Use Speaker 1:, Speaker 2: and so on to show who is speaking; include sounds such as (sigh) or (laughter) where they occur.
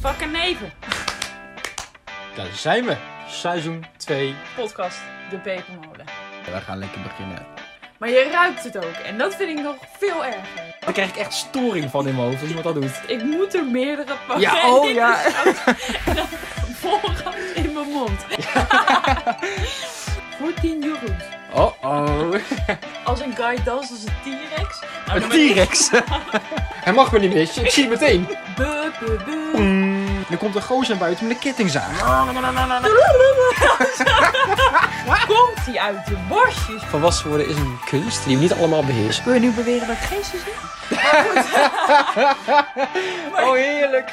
Speaker 1: Vak en Neven,
Speaker 2: Daar zijn we. Seizoen 2.
Speaker 1: podcast De Pepermolen.
Speaker 3: We gaan lekker beginnen.
Speaker 1: Maar je ruikt het ook en dat vind ik nog veel erger.
Speaker 2: Daar krijg ik echt storing van in mijn hoofd als iemand dat doet.
Speaker 1: Ik moet er meerdere pakken.
Speaker 2: Ja,
Speaker 1: en
Speaker 2: oh
Speaker 1: ik (laughs)
Speaker 2: ja.
Speaker 1: zout en dan volgend in mijn mond. (laughs) Voor 10 euro's.
Speaker 2: Oh oh.
Speaker 1: Als een guy danst als een T-Rex. Nou,
Speaker 3: Een T-Rex.
Speaker 2: (laughs) Hij mag me niet missen. Ik zie het meteen.
Speaker 1: Bu, bu, bu.
Speaker 2: Er komt een gozer buiten met een kettingzaag.
Speaker 1: (laughs) Komt hij uit de borstjes?
Speaker 2: Volwassen worden is een kunst die we niet allemaal beheersen.
Speaker 1: Kun je nu beweren dat ik geestjes heb?
Speaker 2: Oh heerlijk.